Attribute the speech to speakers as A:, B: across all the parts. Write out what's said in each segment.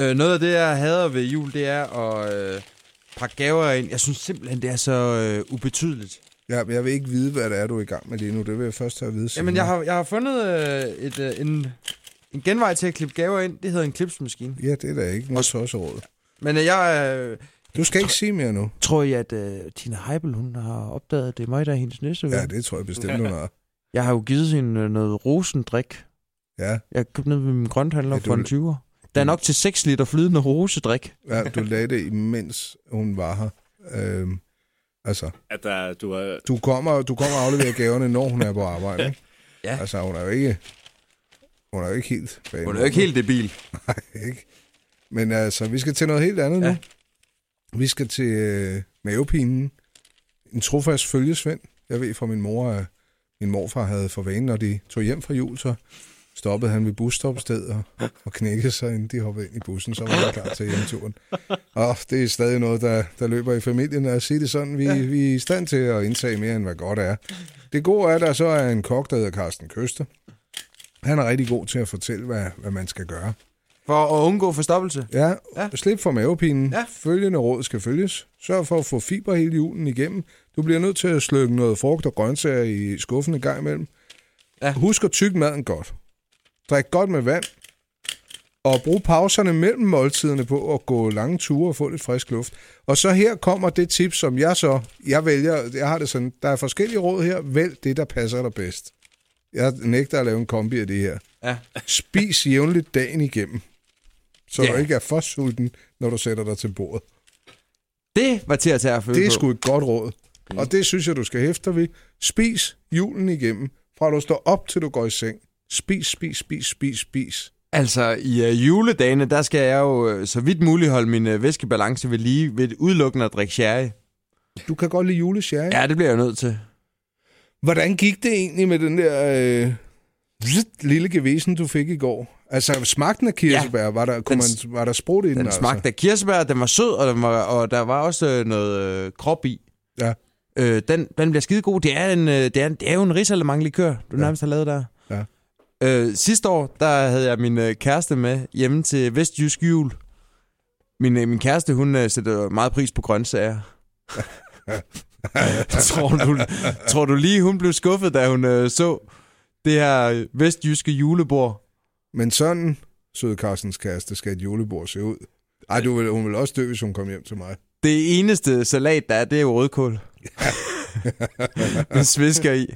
A: Øh, noget af det, jeg hader ved jul, det er at øh, pakke gaver ind. Jeg synes simpelthen, det er så øh, ubetydeligt.
B: Ja, men jeg vil ikke vide, hvad det er, du er i gang med lige nu. Det vil jeg først have at vide.
A: Jamen, jeg har, jeg har fundet øh, et, øh, en, en genvej til at klippe gaver ind. Det hedder en klipsmaskine.
B: Ja, det er da ikke noget tosseråd.
A: Men øh, jeg øh,
B: Du skal ikke sige mere nu.
A: tror, I, at øh, Tina Heibel hun har opdaget, at det er mig, der er hendes næste ven.
B: Ja, det tror jeg bestemt, hun har.
A: Jeg har jo givet hende øh, noget rosendrik.
B: Ja,
A: Jeg købte ned ved min grønthandler
B: Ja, du-
A: for en 20'er. Der er nok til 6 liter flydende rosedrik.
B: ja du lagde det, imens hun var her. Øhm, altså,
C: At der, du har...
B: du kommer, du kommer og afleverer gaverne, når hun er på arbejde, ikke?
A: Ja.
B: Altså, hun er jo ikke... Hun er jo ikke helt bag
A: Hun er jo ikke helt debil.
B: Nej, ikke? Men altså, vi skal til noget helt andet ja.
A: Ja.
B: nu. Vi skal til øh, mavepinen. En trofast følgesvend. Jeg ved fra min mor, at min morfar havde for vane, når de tog hjem fra jul, så stoppede han ved busstopstedet og, og knækkede sig, inden de hoppede ind i bussen, så var han klar til hjemturen. Og det er stadig noget, der, der løber i familien, og at sige det sådan, vi, ja. vi er i stand til at indtage mere, end hvad godt er. Det gode er, at der så er en kok, der hedder Carsten Køster. Han er rigtig god til at fortælle, hvad, hvad man skal gøre.
A: For at undgå forstoppelse.
B: Ja, ja.
A: Ja.
B: slip for mavepinen. Ja.
A: Ja.
B: Følgende råd skal følges. Sørg for at få fiber hele julen igennem. Du bliver nødt til at sløkke noget frugt og grøntsager i skuffen en gang imellem. Ja.
A: Ja.
B: Husk at tygge maden godt. Drik godt med vand. Og brug pauserne mellem måltiderne på at gå lange ture og få lidt frisk luft. Og så her kommer det tip, som jeg så... Jeg vælger... Jeg har det sådan... Der er forskellige råd her. Vælg det, der passer dig bedst. Jeg nægter at lave en kombi af det her.
A: Ja.
B: Spis jævnligt dagen igennem, så yeah.
A: Ja.
B: du ikke er for sulten, når du sætter dig til bordet.
A: Det var til at tage at føle
B: Det er
A: på.
B: sgu et godt råd,
A: Mm.
B: og det synes jeg, du skal hæfte dig ved. Spis julen igennem, fra du står op, til du går i seng. Spis, spis, spis, spis, spis.
A: Altså, i øh, juledagene, der skal jeg jo øh, så vidt muligt holde min øh, væskebalance ved lige ved udelukkende at drikke sherry.
B: Du kan godt lide julesjære. Ja.
A: Ja, det bliver jeg jo nødt til.
B: Hvordan gik det egentlig med den der øh, vzt lille gevesen, du fik i går? Altså, smagten af kirsebær, ja. var, der, kunne
A: Den-
B: man, var der sprudt i den?
A: Den
B: altså?
A: smagte af kirsebær, den var sød, og, den var, og der var også øh, noget øh, krop i.
B: Ja.
A: Øh, den, den bliver skide god. Det er, en, øh, det, er en, det er jo en risalemanglikør, du ja.
B: Ja.
A: nærmest har lavet der.
B: Ja.
A: Øh, sidste år, der havde jeg min øh, kæreste med hjemme til Vestjysk Jul. Min, øh, min kæreste, hun øh, sætter meget pris på grøntsager. tror, du, tror du lige, hun blev skuffet, da hun øh, så det her øh, vestjyske julebord?
B: Men sådan, søde Carstens kæreste, skal et julebord se ud. Ej, du vil, hun vil også dø, hvis hun kom hjem til mig.
A: Det eneste salat, der er, det er jo rødkål. Med svisker i.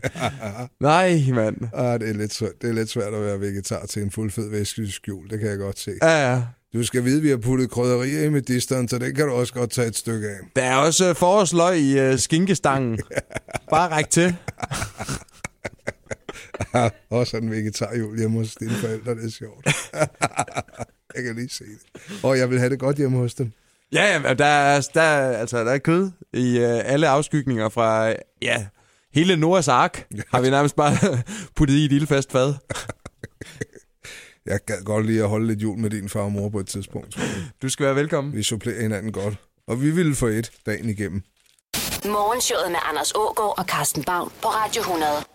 A: Nej, mand.
B: Ah, det, er lidt svært, det er lidt svært at være vegetar til en fuldfed vestjysk jul, det kan jeg godt se.
A: Ja, ja.
B: Du skal vide, at vi har puttet krydderier i med disteren, så den kan du også godt tage et stykke af.
A: Der er også øh, forårsløg i øh, skinkestangen. Bare ræk til.
B: Ah, også er den vegetarjul hjemme hos dine forældre, det er sjovt. jeg kan lige se det. Og jeg vil have det godt hjemme hos dem.
A: Ja, ja, men der er, der, er- altså, der er kød i øh, alle afskygninger fra, øh, ja, hele Noahs ark har vi nærmest bare puttet i et ildfast fad.
B: Jeg gad godt lige at holde lidt jul med din far og mor på et tidspunkt. tror jeg.
A: Du skal være velkommen.
B: Vi supplerer hinanden godt. Og vi ville få et dagen igennem.
D: Morgenshowet med Anders Ågaard og Carsten Baum på Radio 100.